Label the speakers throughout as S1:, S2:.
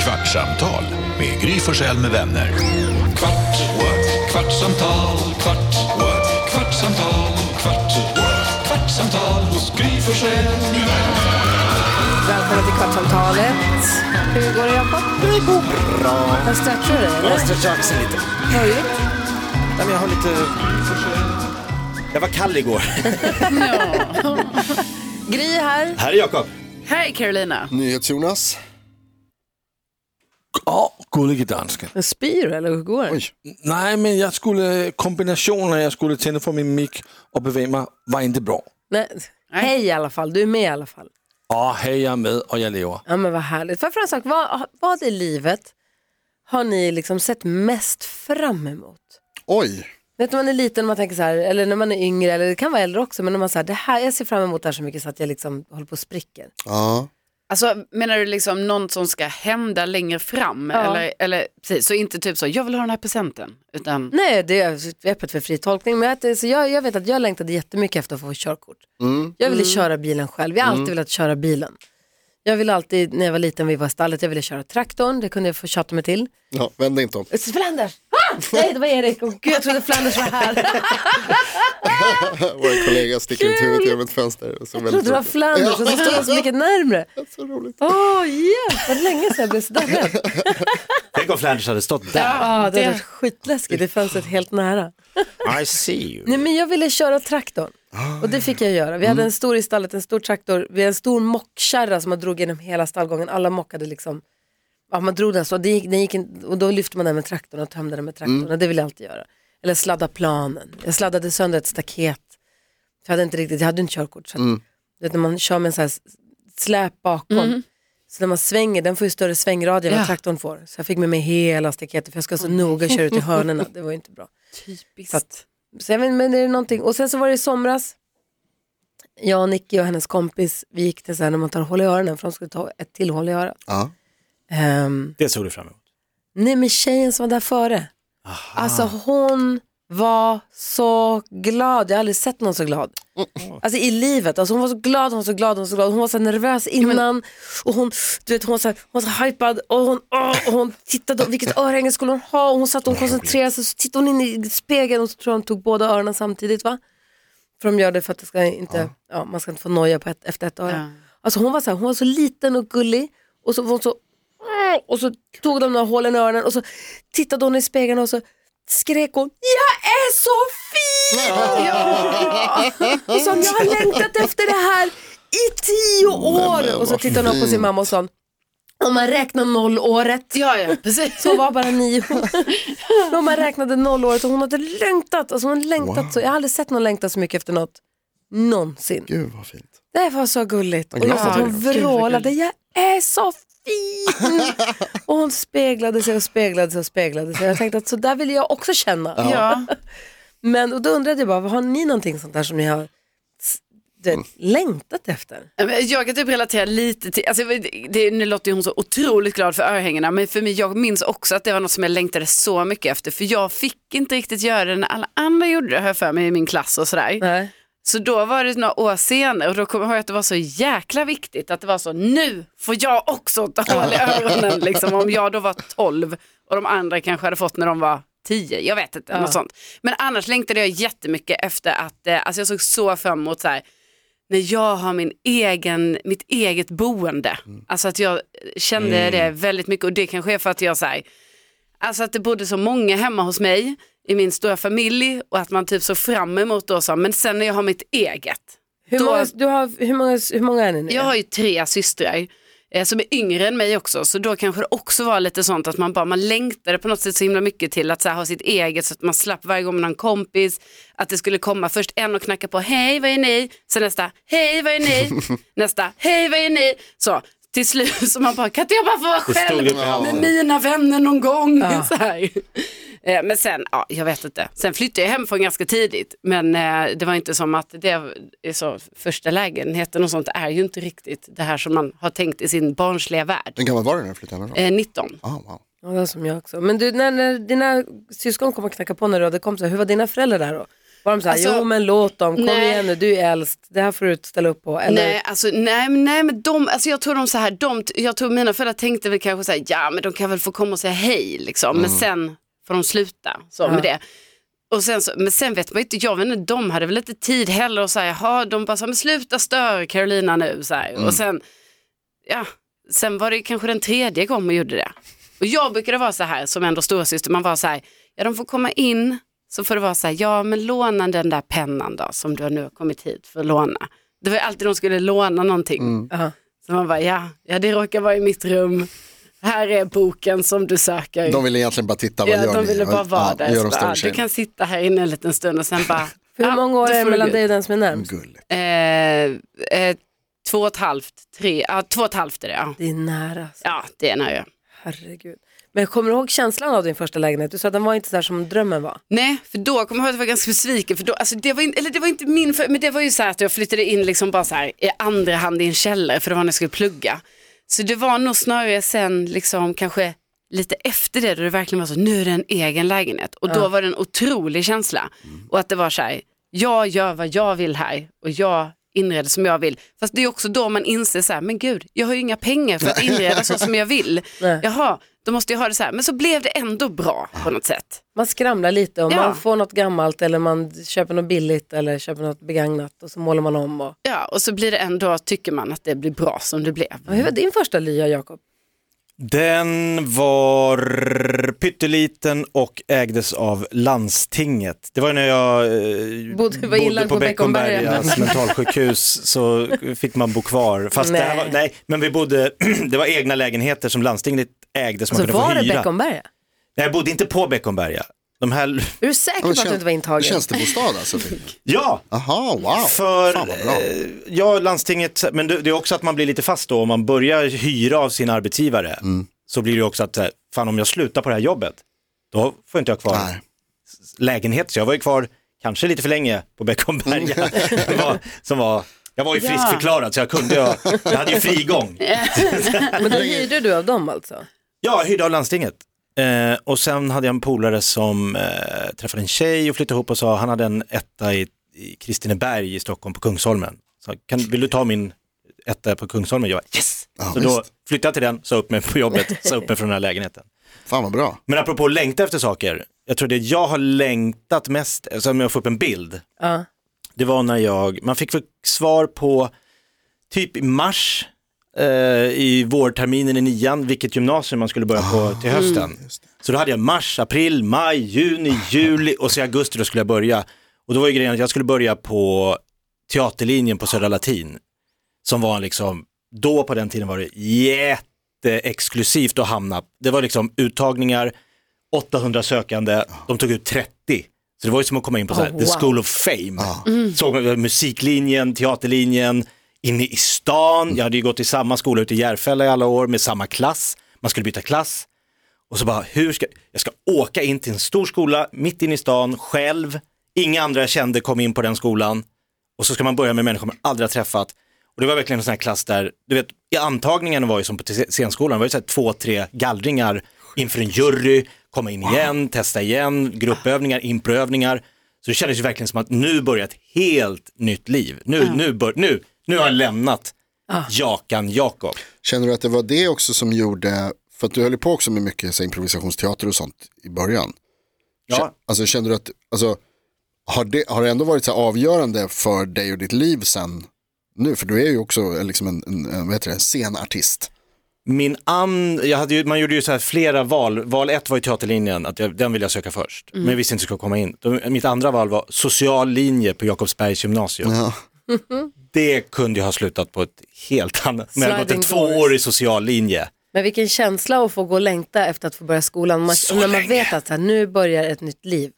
S1: Kvartsamtal med Gry Forssell med vänner. Kvart, what? kvartsamtal, kvart, what? kvartsamtal, kvart, what? kvartsamtal hos Gry Forssell med vänner.
S2: Välkommen till Kvartsamtalet. Hur går det, Jakob? Det går bra. Vad stretchar du dig,
S3: Jag
S2: eller?
S3: stretchar axeln lite.
S2: Nöjet?
S3: Nej, men jag har lite... Jag var kall igår.
S2: Gry här.
S3: Här är Jakob.
S4: Hej Carolina.
S5: NyhetsJonas.
S6: Ja, gullige danske.
S2: Spyr du, eller hur går det?
S5: Oj.
S6: Nej, men jag skulle, kombinationen när jag skulle tända på min mick och beväga mig var inte bra.
S2: Nej. Hej i alla fall, du är med i alla fall.
S6: Ja, hej jag är med och jag lever.
S2: Ja men vad härligt. Får jag fråga en sak, vad, vad i livet har ni liksom sett mest fram emot?
S5: Oj,
S2: Vet du när man är liten man tänker så här, eller när man är yngre, eller det kan vara äldre också, men när man säger det här, jag ser fram emot det här så mycket så att jag liksom håller på och spricker.
S5: ja.
S4: Alltså menar du liksom något som ska hända längre fram?
S2: Ja.
S4: Eller, eller precis, så inte typ så, jag vill ha den här presenten. Utan,
S2: Nej, det är öppet för fri tolkning. Men att, det- så jag, jag vet att jag längtade jättemycket efter att få körkort.
S5: Mm.
S2: Jag ville köra bilen själv. Jag har alltid velat köra bilen. Jag ville alltid, när jag var liten, vi var i stallet, jag ville köra traktorn. Det kunde jag få tjata mig till.
S5: ja vänd dig inte om.
S2: Flanders! Ah! Nej, det var Erik. Åh, gud, jag trodde Flanders var här.
S5: Vår kollega sticker ut huvudet genom ett fönster. Så
S2: Jag trodde det var Flanders och så stod jag så mycket närmre.
S5: Så roligt.
S2: Åh, oh, yeah. Vad länge sedan jag blev så darrig.
S3: Tänk om Flanders hade stått där.
S2: Ja, det hade varit skitläskigt. Det fanns ett helt nära.
S3: I see you.
S2: Nej, men jag ville köra traktorn. Och det fick jag göra. Vi hade en stor i stallet, en stor traktor. Vi hade en stor mockkärra som man drog genom hela stallgången. Alla mockade liksom. Ja, man drog den så. Det gick, den gick in, och då lyfte man den med traktorn och tömde den med traktorn. Och det ville jag alltid göra. Eller sladda planen. Jag sladdade sönder ett staket. Jag hade inte riktigt, jag hade inte körkort. Så att, du vet, när man kör med en sån här s- släp bakom. Så när man svänger, den får ju större svängradie än vad
S4: Mm. Ja.
S2: traktorn får. Så jag fick med mig hela staketet för jag ska så noga köra ut i hörnerna. Det var ju inte bra.
S4: Typiskt.
S2: Så att, så jag vet, men det är någonting. Och sen så var det i somras, jag och Nicky och hennes kompis, vi gick till så här när man tar hål i öronen för de skulle ta ett till hål i örat.
S5: Ja.
S2: Ehm,
S3: Det såg du fram emot.
S2: nej men tjejen som var där före, alltså hon var så glad, jag har aldrig sett någon så glad. Alltså i livet, alltså hon var så glad, hon var så glad, hon var så glad. Hon var så här nervös innan och hon, du vet, hon, var så här, hon var så hypad och hon, åh, och hon tittade, och vilket örhänge skulle hon ha? Och hon satt och hon koncentrerade sig, så tittade hon in i spegeln och så tror jag hon tog båda öronen samtidigt va? För de gör det för att det ska inte, ja. man ska inte få noja på ett, efter ett öra.
S4: Ja.
S2: Alltså hon var så här, hon var så liten och gullig och så var hon så, åh, och så tog de några hålen i öronen och så tittade hon i spegeln och så skrek hon, jag är så fin! Och sa jag har längtat efter det här i tio år.
S5: Mm, men,
S2: och så
S5: vad
S2: tittade hon upp på sin
S5: fint.
S2: mamma och sa, om man räknar nollåret.
S4: ja, ja, precis.
S2: Så var bara nio år. Men om man räknade nollåret och hon hade längtat. Alltså hon längtat så. Jag har aldrig sett någon längta så mycket efter något. Någonsin.
S5: Gud vad fint.
S2: Det var så gulligt. Och just
S5: glad
S2: att
S5: jag
S2: hon vrålade, jag är så fin. och hon speglade sig och speglade sig och speglade sig. Jag tänkte att så där vill jag också känna.
S4: Ja.
S2: Men och då undrade jag bara, har ni någonting sånt där som ni har s- du
S4: Mm.
S2: vet, längtat efter?
S4: Men Jag kan typ relatera lite till, alltså, det, det, nu låter ju hon så otroligt glad för örhängena men för mig, jag minns också att det var något som jag längtade så mycket efter för jag fick inte riktigt göra det när alla andra gjorde det, hör jag för mig i min klass och sådär.
S2: Nej.
S4: Så då var det några år senare och då kommer jag ihåg att det var så jäkla viktigt att det var så nu får jag också ta hål i öronen. Liksom, om jag då var 12 och de andra kanske hade fått när de var 10, jag vet inte. Något sånt. Men annars längtade jag jättemycket efter att, eh, alltså jag såg så fram emot så här, när jag har min egen, mitt eget boende. Alltså att jag kände det väldigt mycket och det kanske är för att jag så här, Alltså att det bodde så många hemma hos mig i min stora familj och att man typ såg fram emot då så, men sen när jag har mitt eget.
S2: Hur,
S4: Då-
S2: många, du har, hur, många, hur många är ni nu?
S4: Jag har ju tre systrar eh, som är yngre än mig också så då kanske det också var lite sånt att man bara man längtade på något sätt så himla mycket till att så här, ha sitt eget så att man slapp varje gång man har en kompis att det skulle komma först en och knacka på hej vad är ni? Sen nästa hej vad är ni? nästa hej vad är ni? Så till slut så man bara kan inte jag bara få vara
S3: Det stod
S4: själv
S3: upp i halsen.
S4: med mina vänner någon gång? Så här. Eh, Men sen, ja, jag vet inte. Sen flyttade jag hemifrån ganska tidigt. Men eh, det var inte som att det är så, första lägenheten och sånt är ju inte riktigt det här som man har tänkt i sin barnsliga värld.
S5: Hur gammal var du när du flyttade hemifrån?
S4: Eh, 19.
S5: Ah, wow.
S2: Ja, det är som jag också. Men du, när, när dina syskon kom och knackade på när du hade kompisar, hur var dina föräldrar där då? Var de så här,
S4: Alltså,
S2: jo men låt dem, kom
S4: nej.
S2: igen nu, du är äldst, det här får du ställa upp på. Eller,
S4: Nej, alltså, nej, men- nej, men de, alltså jag tror de så här, de, jag tror mina föräldrar tänkte väl kanske så här, ja men de kan väl få komma och säga hej liksom, men sen får de sluta så med det. Och sen så, men sen vet man ju inte, jag vet inte, de hade väl inte tid heller och säga, jaha, de bara så här, men sluta störa Carolina nu så här. Och sen, ja, sen var det kanske den tredje gången man gjorde det. Och jag brukade vara så här, som ändå storasyster, man var så här, ja de får komma in, så får det vara så här, ja men låna den där pennan då, som du nu har kommit hit för att låna. Det var ju alltid de skulle låna någonting.
S5: Mm.
S2: Ja.
S4: Så man bara, ja, ja det råkar vara i mitt rum, här är boken som du söker.
S5: De ville egentligen bara titta, vad
S4: ja,
S5: gör
S4: de
S5: ni?
S4: ville bara vara
S5: ja,
S4: där.
S5: Gör
S4: Så
S5: de
S4: bara,
S5: stora
S4: ah, du
S5: tjejerna.
S4: kan sitta här inne en liten stund och sen bara,
S2: Hur
S4: ja,
S2: många år
S4: då
S2: är det
S4: får du
S2: mellan
S4: gå
S2: dig och den som är närmst?
S5: Gulligt.
S4: ut. eh, eh, två och ett halvt, tre, ja två och ett halvt är det ja.
S2: Det är nära. Alltså.
S4: Ja, det är nära.
S2: Herregud. Men kommer du ihåg känslan av din första lägenhet? Du sa att den var inte så där som drömmen var.
S4: Nej, för då kommer jag ihåg att jag var ganska besviken. För då, alltså det, var in, eller det var inte min, för, men det var ju så här att jag flyttade in liksom bara så här, i andra hand i en källare för det var när jag skulle plugga. Så det var nog snarare sen liksom kanske lite efter det då det verkligen var så, nu är det en egen lägenhet. Och då var det en otrolig känsla. Och att det var så här, jag gör vad jag vill här och jag inreder som jag vill. Fast det är också då man inser så här, men gud, jag har ju inga pengar för att inreda så som jag vill.
S2: Nej.
S4: Jaha, då måste jag ha det så här. Men så blev det ändå bra på något sätt.
S2: Man skramlar lite och
S4: Ja.
S2: man får något gammalt eller man köper något billigt eller köper något begagnat och så målar man om. Och...
S4: Ja, och så blir det ändå, tycker man att det blir bra som det blev.
S2: Men Hur var din första lya Jakob?
S3: Den var pytteliten och ägdes av landstinget. Det var när jag eh,
S2: Bodde- var inlagd på Beckomberga.
S3: mentalsjukhus så fick man bo kvar. Fast nej. Det här var,
S2: Nej.
S3: nej, men vi bodde, det var egna lägenheter som landstinget ägde som
S2: Så
S3: man kunde
S2: Alltså, var
S3: få
S2: det
S3: hyra.
S2: Beckomberga?
S3: nej, jag bodde inte på Beckomberga. De här,
S2: Är du säker på
S5: Ja,
S2: att du
S5: tjän-
S2: inte var intagen?
S5: Tjänstebostad alltså? typ.
S3: ja,
S5: Jaha, wow.
S3: För,
S5: Fan vad bra.
S3: eh, ja, landstinget, men det, det är också att man blir lite fast då, om man börjar hyra av sin arbetsgivare, så blir det ju också att, så här, fan om jag slutar på det här jobbet, då får inte jag kvar
S5: Nej.
S3: lägenhet, så jag var ju kvar kanske lite för länge på Beckomberga, som var, som var jag var ju
S4: Ja.
S3: friskförklarad så jag kunde, jag, jag hade ju frigång.
S2: Men då hyrde du av dem alltså?
S3: Ja, hyrde av landstinget. Eh, och sen hade jag en polare som eh, träffade en tjej och flyttade ihop och sa, han hade en etta i, i Kristineberg i Stockholm på Kungsholmen. Så, kan, vill du ta min etta på Kungsholmen? Jag bara, yes!
S5: Ja,
S3: så då
S5: visst.
S3: flyttade jag till den, sa upp mig på jobbet, sa upp mig från den här lägenheten.
S5: Fan vad bra.
S3: Men apropå att längta efter saker, jag tror det jag har längtat mest, alltså om jag får upp en bild,
S2: Ja.
S3: det var när jag, man fick väl svar på typ i mars eh, i vårterminen i nian vilket gymnasium man skulle börja på till hösten. Så då hade jag mars, april, maj, juni, juli och så i augusti då skulle jag börja. Och då var ju grejen att jag skulle börja på teaterlinjen på Södra Latin. Som var liksom, då på den tiden var det jätteexklusivt att hamna. Det var liksom uttagningar, 800 sökande, de tog ut 30. Så det var ju som att komma in på så
S2: Oh,
S3: här, the
S2: wow. Mm.
S3: school of fame. Såg man musiklinjen, teaterlinjen, inne i stan. Jag hade ju gått i samma skola ute i Järfälla i alla år med samma klass. Man skulle byta klass. Och så bara, hur ska, jag ska åka in till en stor skola mitt inne i stan själv. Inga andra jag kände kom in på den skolan. Och så ska man börja med människor man aldrig har träffat. Och det var verkligen en sån här klass där, du vet, i antagningen var ju som på te- scenskolan, det var ju så här två, tre gallringar inför en jury, komma in igen, testa igen, gruppövningar, improövningar. Så det kändes ju verkligen som att nu börjar ett helt nytt liv. Nu, nu, bör, nu, nu har jag lämnat Jakan Jakob.
S5: Känner du att det var det också som gjorde, för att du höll ju på också med mycket så, här, improvisationsteater och sånt i början.
S3: Ja.
S5: Alltså känner du att, alltså, har, det, har det ändå varit så här avgörande för dig och ditt liv sen nu? För du är ju också eh, liksom en, en, en vad heter det, scenartist.
S3: Min an, jag hade ju, man gjorde ju så här flera val, val ett var ju teaterlinjen, att jag, den ville jag söka först, men jag visste inte att jag skulle komma in. Då, mitt andra val var social linje på Jakobsbergs gymnasium.
S5: Ja.
S3: Det kunde jag ha slutat på ett helt annat, men jag har gått en
S2: Sliding doors.
S3: tvåårig social linje.
S2: Men vilken känsla att få gå och längta efter att få börja skolan. Man,
S3: Så
S2: när man
S3: länge.
S2: vet att så här, nu börjar ett nytt liv.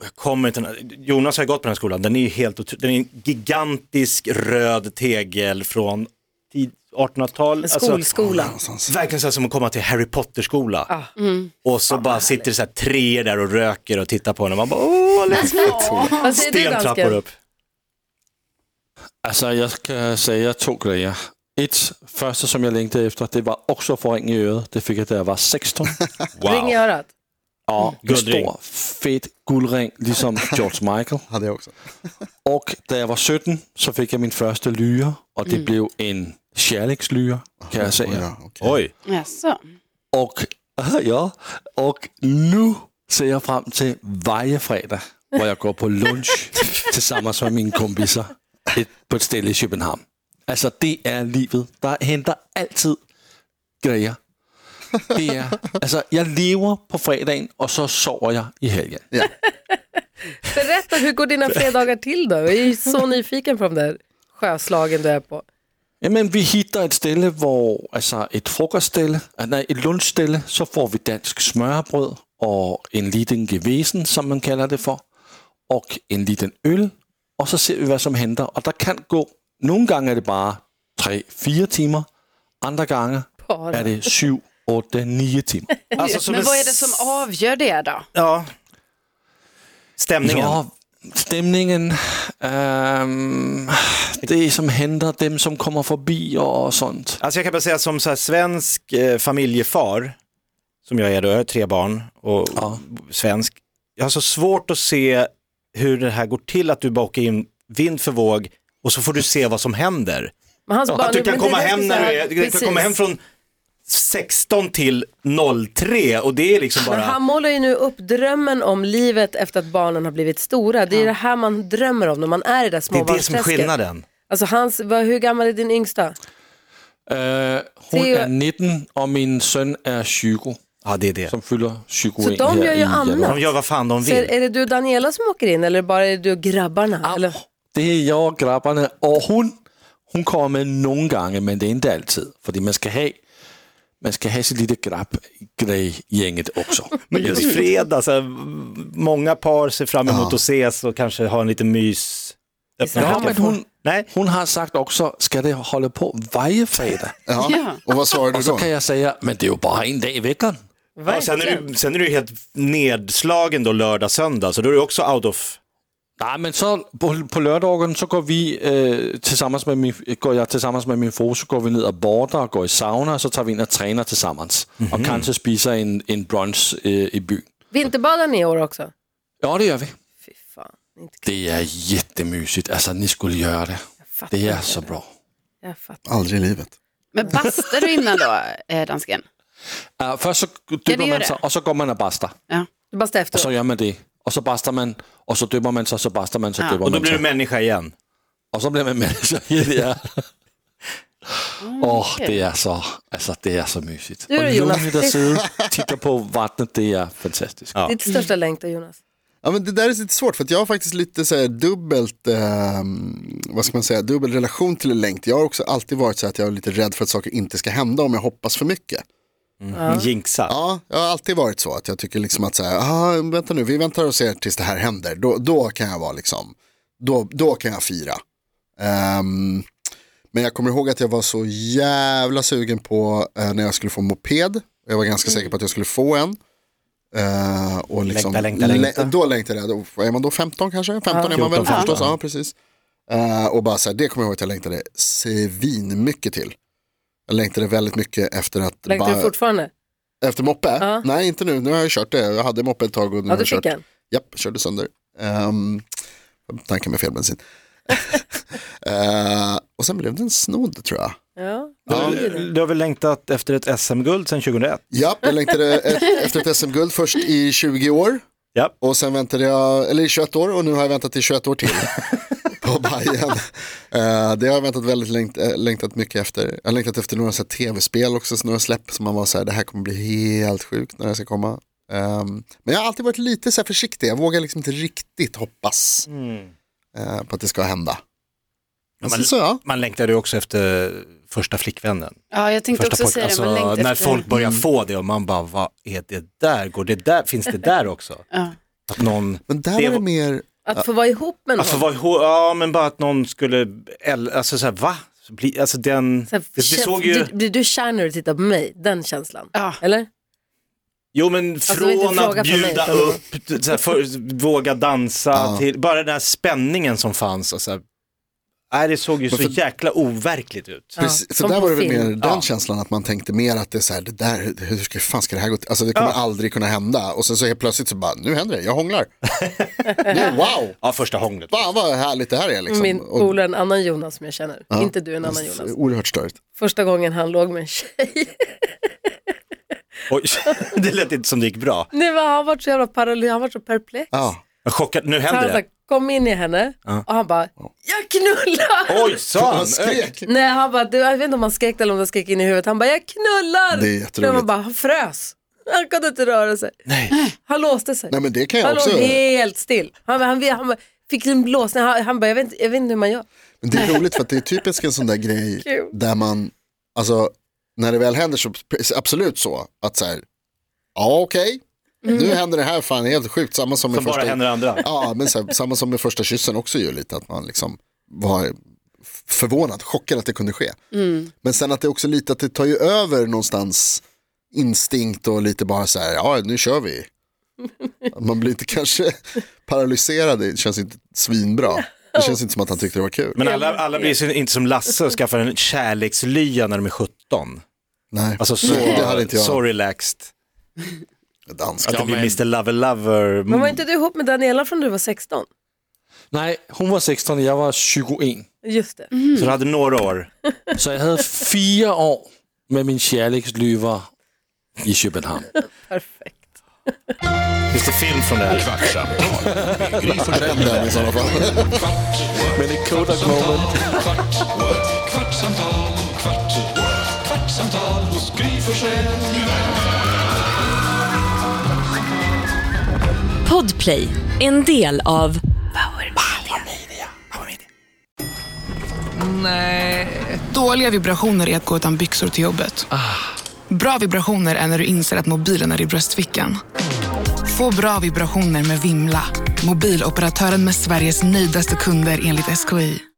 S3: Och Jag kommer inte, Jonas har ju gått på den här skolan, den är ju helt otro- den är en gigantisk röd tegel från tid- 1800-tal.
S2: En
S3: Alltså,
S2: skolskola.
S3: Verkligen så här som att komma till Harry Potter-skola. Och så bara sitter det så här treor där och röker och tittar på den och man bara åh vad
S2: Vad säger du
S3: stentrappor
S2: dansken?
S3: upp.
S6: Altså, jeg kan sige to grejer. Et, første som jeg længtede efter, det var også forringet i øret. Det fik jeg, da jeg var 16.
S3: Wow.
S2: Ring i örat.
S6: Ja, en
S3: Guldring.
S6: stor fet guldring, ligesom George Michael.
S5: Hade jag också.
S6: Och da jeg var 17, så fik jeg min første lyre, og det blev en Sherlock's lyre, kan jeg sige.
S5: Ja, okej.
S3: Oj,
S4: Jaså?
S6: Og, ja, og nu ser jeg frem til vejefredag, hvor jeg går på lunch til sammen med mine kompiser et, på et sted i København. Altså, det er livet. Der henter altid grejer. Det er, altså, jeg lever på fredagen, og så sover jeg i helgen.
S2: Berätta, hur går dina fredagar till då? Jag är ju så nyfiken på de där sjöslagen du är på.
S6: Jamen, vi hitter et stille, hvor altså et frokoststille, ah, nej, et lunchstille, så får vi dansk smørbrød og en liten gevesen, som man kalder det for, og en liten øl, og så ser vi, hvad som henter. Og der kan gå, nogle gange er det bare 3-4 timer, andre gange
S2: Bare.
S6: er det 7, 8, 9 timer.
S3: alltså som
S4: Men
S3: en
S4: vad är det som avgör det då?
S3: Ja. Stämningen.
S6: Ja, stemningen, øhm, det som henter, dem som kommer forbi og sånt.
S3: Alltså jag kan bara säga som så här, svensk eh, familjefar, som jag är då, jag har tre barn och
S6: Ja.
S3: svensk. Jag har så svårt att se hur det här går till, att du bara åker in vind för våg och så får du se vad som händer.
S2: Men hans barn,
S3: Att du kan
S2: men det
S3: komma
S2: där
S3: hem
S2: ska
S3: när du
S2: säga-
S3: är, du kan
S2: precis.
S3: komma hem från 16 till 03 och det är liksom
S2: Men
S3: bara,
S2: han målar ju nu upp drömmen om livet efter att barnen har blivit stora. Det är det här man drömmer om när man är i det där
S3: det är det som är
S2: småbarnsträsket.
S3: skillnaden.
S2: Alltså hans, vad, hur gammal är din yngsta?
S6: Øh, hun
S2: Det er jo-
S6: er 19, og min søn er 20,
S3: Ja, det är det.
S6: som fylder 20
S2: Så de
S6: her
S2: gør
S6: i
S2: jo
S6: januar.
S2: andet.
S3: De gör vad fan de
S2: Så är,
S3: vill.
S2: är det du och Daniela som åker in eller bara är det du och grabbarna? Eller?
S6: Det er jeg og grabberne, og hun, hun kommer med nogle gange, men det er ikke altid, fordi man skal have man skal have sit lille grab grej gänget också.
S3: Men just fredag, så här, många par ser fram emot att ses och kanske ha en liten mys. Öppna
S6: Ja,
S3: ja,
S6: men hon,
S3: Nej,
S6: hon har sagt också, ska det hålla på varje fredag?
S5: Ja. Och vad svarade du
S6: Och så
S5: då?
S6: kan jag säga, men det är ju bara en dag i veckan.
S3: Ja, sen, är du, sen är du helt nedslagen då lördag, söndag, så då är du också out of...
S6: Nej, men så på, på lørdagen, så går vi øh, tillsammans med min, går jeg tillsammans med min fru, så går vi ned og border og går i sauna, og så tager vi ind og træner tillsammans. Og
S4: Mhm.
S6: kanskje spiser en, en brunch øh, i byen.
S2: Vinterbadar ni i år också?
S6: Ja, det gør vi.
S2: Fy fan, inte kul.
S6: Det er jättemysigt. Altså, ni skulle gøre det.
S2: Jag fattar
S6: Det er
S2: inte.
S6: så bra.
S2: Jag fattar.
S5: Aldrig i livet.
S4: Men bastar du innan då, eh, dansken?
S6: Uh, først så
S4: Ja, det
S6: dypper
S4: gør
S6: man
S4: det.
S6: sig, og så går man og baster.
S4: Ja.
S2: Du bara
S6: Og så
S3: Alltså,
S2: efter.
S6: gør man det. Og så baster man, og så dypper man sig, så baster man, så
S4: Ja,
S6: dypper
S3: Och då
S6: man
S3: blir du
S6: sig.
S3: människa igen.
S6: Og så bliver man med sig i det her. Åh, oh, det er så, altså, det er så mysigt.
S2: Du er
S6: og
S2: Jonas.
S6: lugnet at sidde og titte på vattnet, det er fantastisk.
S3: Ja.
S2: Ditt största längtan Jonas?
S5: Ja, men det där är lite svårt för att jag har faktiskt lite så här dubbelt, ehm, vad ska man säga, dubbel relation till längt. Jag har också alltid varit så här att jag är lite rädd för att saker inte ska hända om jag hoppas för mycket.
S3: Mm. Jinxa.
S5: Ja, jag har alltid varit så att jag tycker liksom att så här, ah, vänta nu, vi väntar och ser tills det här händer. Då, då kan jag vara liksom, då, då kan jag fira. Ehm, men jag kommer ihåg att jag var så jävla sugen på eh, när jag skulle få moped. Jag var ganska säker på att jag skulle få en. Eh, och liksom,
S3: Längta, längta, längta.
S5: lä- då längtade jag, då, är man då 15 kanske? 15 är man
S3: 14,
S5: väl
S3: 15.
S5: förstås, ja precis. Eh, och bara så här, det kommer jag ihåg att jag längtade svin mycket till. Jag längtade väldigt mycket efter att
S2: Längtar
S5: bara,
S2: du fortfarande?
S3: Mm,
S5: efter moppe?
S2: Ja.
S5: Nej, inte nu. Nu har jag kört det. Jag hade moppe ett tag och nu
S2: Ja,
S5: har
S2: du
S5: jag
S2: fick
S5: kört.
S2: en.
S5: Japp, körde sönder. Um, tankar med fel bensin. Eh, och sen blev den snodd tror jag.
S2: Ja.
S3: Du har väl längtat efter ett SM-guld sedan 2001?
S5: Japp, jag längtade ett, efter ett SM-guld först i 20 år.
S3: Ja.
S5: Och sen väntade jag, eller i 21 år och nu har jag väntat i 21 år till. på Bajen. Eh, det har jag väntat väldigt längt, eh, längtat mycket efter. Jag har längtat efter några så här tv-spel också, så några släpp som man var så här, det här kommer bli helt sjukt när det ska komma. Ehm, men jag har alltid varit lite så här försiktig, jag vågar liksom inte riktigt hoppas eh, på att det ska hända. Men
S3: man-
S5: sen så ja,
S3: Man längtade ju också efter första flickvännen.
S4: Ja, jag tänkte
S3: Första Alltså,
S4: också säga det. man längtar
S3: när
S4: efter-
S3: folk börjar få det och man bara, vad är det där? Går det där? Finns det där också?
S4: Ja.
S3: Att någon...
S5: men där
S3: Det
S5: var det
S3: var-
S5: mer,
S2: Att få vara ihop med någon.
S3: Alltså, vad, ja, men bara att någon skulle... äl- Alltså så här, va? Bli- Alltså den...
S2: Så här,
S3: Det, det
S2: känns-
S3: såg ju...
S2: du, blir du kär när du tittar på mig? Den känslan?
S4: Ja.
S2: Eller?
S3: Jo men
S2: Alltså, det är inte en
S3: från
S2: fråga
S3: att
S2: för
S3: bjuda
S2: mig.
S3: upp, så här, för, våga dansa,
S5: Ja.
S3: till, bara den här spänningen som fanns. Och så här, alltså. Nej, det såg ju så
S5: för-
S3: jäkla overkligt ut.
S2: Ja,
S5: Precis, så
S2: som
S5: där
S2: på
S5: var det väl
S2: film.
S5: mer den känslan att man tänkte mer att det är så här, det där, hur ska, fan ska det här gå till? Alltså det kommer aldrig kunna hända. Och sen så helt plötsligt så bara, nu händer det, jag hånglar. nu, wow,
S3: Ja, första hånglet.
S5: fan vad härligt det här är liksom.
S2: Min
S5: Och-
S2: polare, en annan Jonas som jag känner. Inte du, en annan Jonas.
S5: Oerhört störigt.
S2: Första gången han låg med en tjej.
S3: Oj, det lät inte som det gick bra.
S2: Nej, men han var så jävla parallel, han var så perplex.
S5: Ja.
S3: Jag är chockad, nu
S2: Så han
S3: händer
S2: så här,
S3: det.
S2: kom in i henne och han bara, jag knullar!
S3: Oj, sa han?
S5: Han skrek.
S2: Nej, han bara, du, jag vet inte om han skrek eller om han skrek in i huvudet. Han bara, jag knullar!
S5: Det är jätteroligt.
S2: Man bara, han frös. Han kunde inte röra sig. Nej. Han låste sig.
S5: Nej men det kan jag
S2: han
S5: också.
S2: låg helt still. Han, han, han, han fick en blåsning. Han, han bara, jag vet, inte, jag vet inte hur man gör.
S5: Men det är roligt för att det är typiskt en sån där grej
S2: Kul.
S5: där man, alltså när det väl händer så absolut så att så här, ja okej,
S2: Mm.
S5: nu händer det här fan helt sjukt, samma som,
S3: Som
S5: med
S3: bara
S5: första,
S3: händer andra.
S5: ja, men så här, samma som med första kyssen också ju lite att man liksom var förvånad, chockad att det kunde ske. Men sen att det också lite att det tar ju över någonstans instinkt och lite bara så här, ja nu kör vi. Att Man blir inte kanske paralyserad, det känns inte svinbra. Det känns inte som att han tyckte det var kul.
S3: Men alla, alla blir så- inte som Lasse och skaffar en kärlekslya när de är 17.
S5: Nej,
S3: Alltså så,
S5: det hade inte jag.
S3: så relaxed.
S5: Dansk.
S3: Att det blir Mr Lover Lover.
S2: Men
S5: Mm.
S2: var inte du ihop med Daniela från du var 16?
S6: Nej, hon var 16 och jag var 21.
S2: Just det.
S3: Så du hade några år.
S6: Så jag hade fyra år med min kärlekslyva i Köpenhamn.
S2: Perfekt.
S3: Finns det film från det här?
S1: Kvartsamtal med Gry Forssell med
S5: Den i sådana fall.
S1: Men det är Kodak moment. Kvartsamtal, kvart, kvartsamtal hos Gry Forssell med vänner.
S7: Podplay, en del av
S8: Nej. Dåliga vibrationer är att gå utan byxor till jobbet. Bra vibrationer är när du inser att mobilen är i bröstfickan. Få bra vibrationer med Vimla. Mobiloperatören med Sveriges nöjdaste kunder enligt SKI.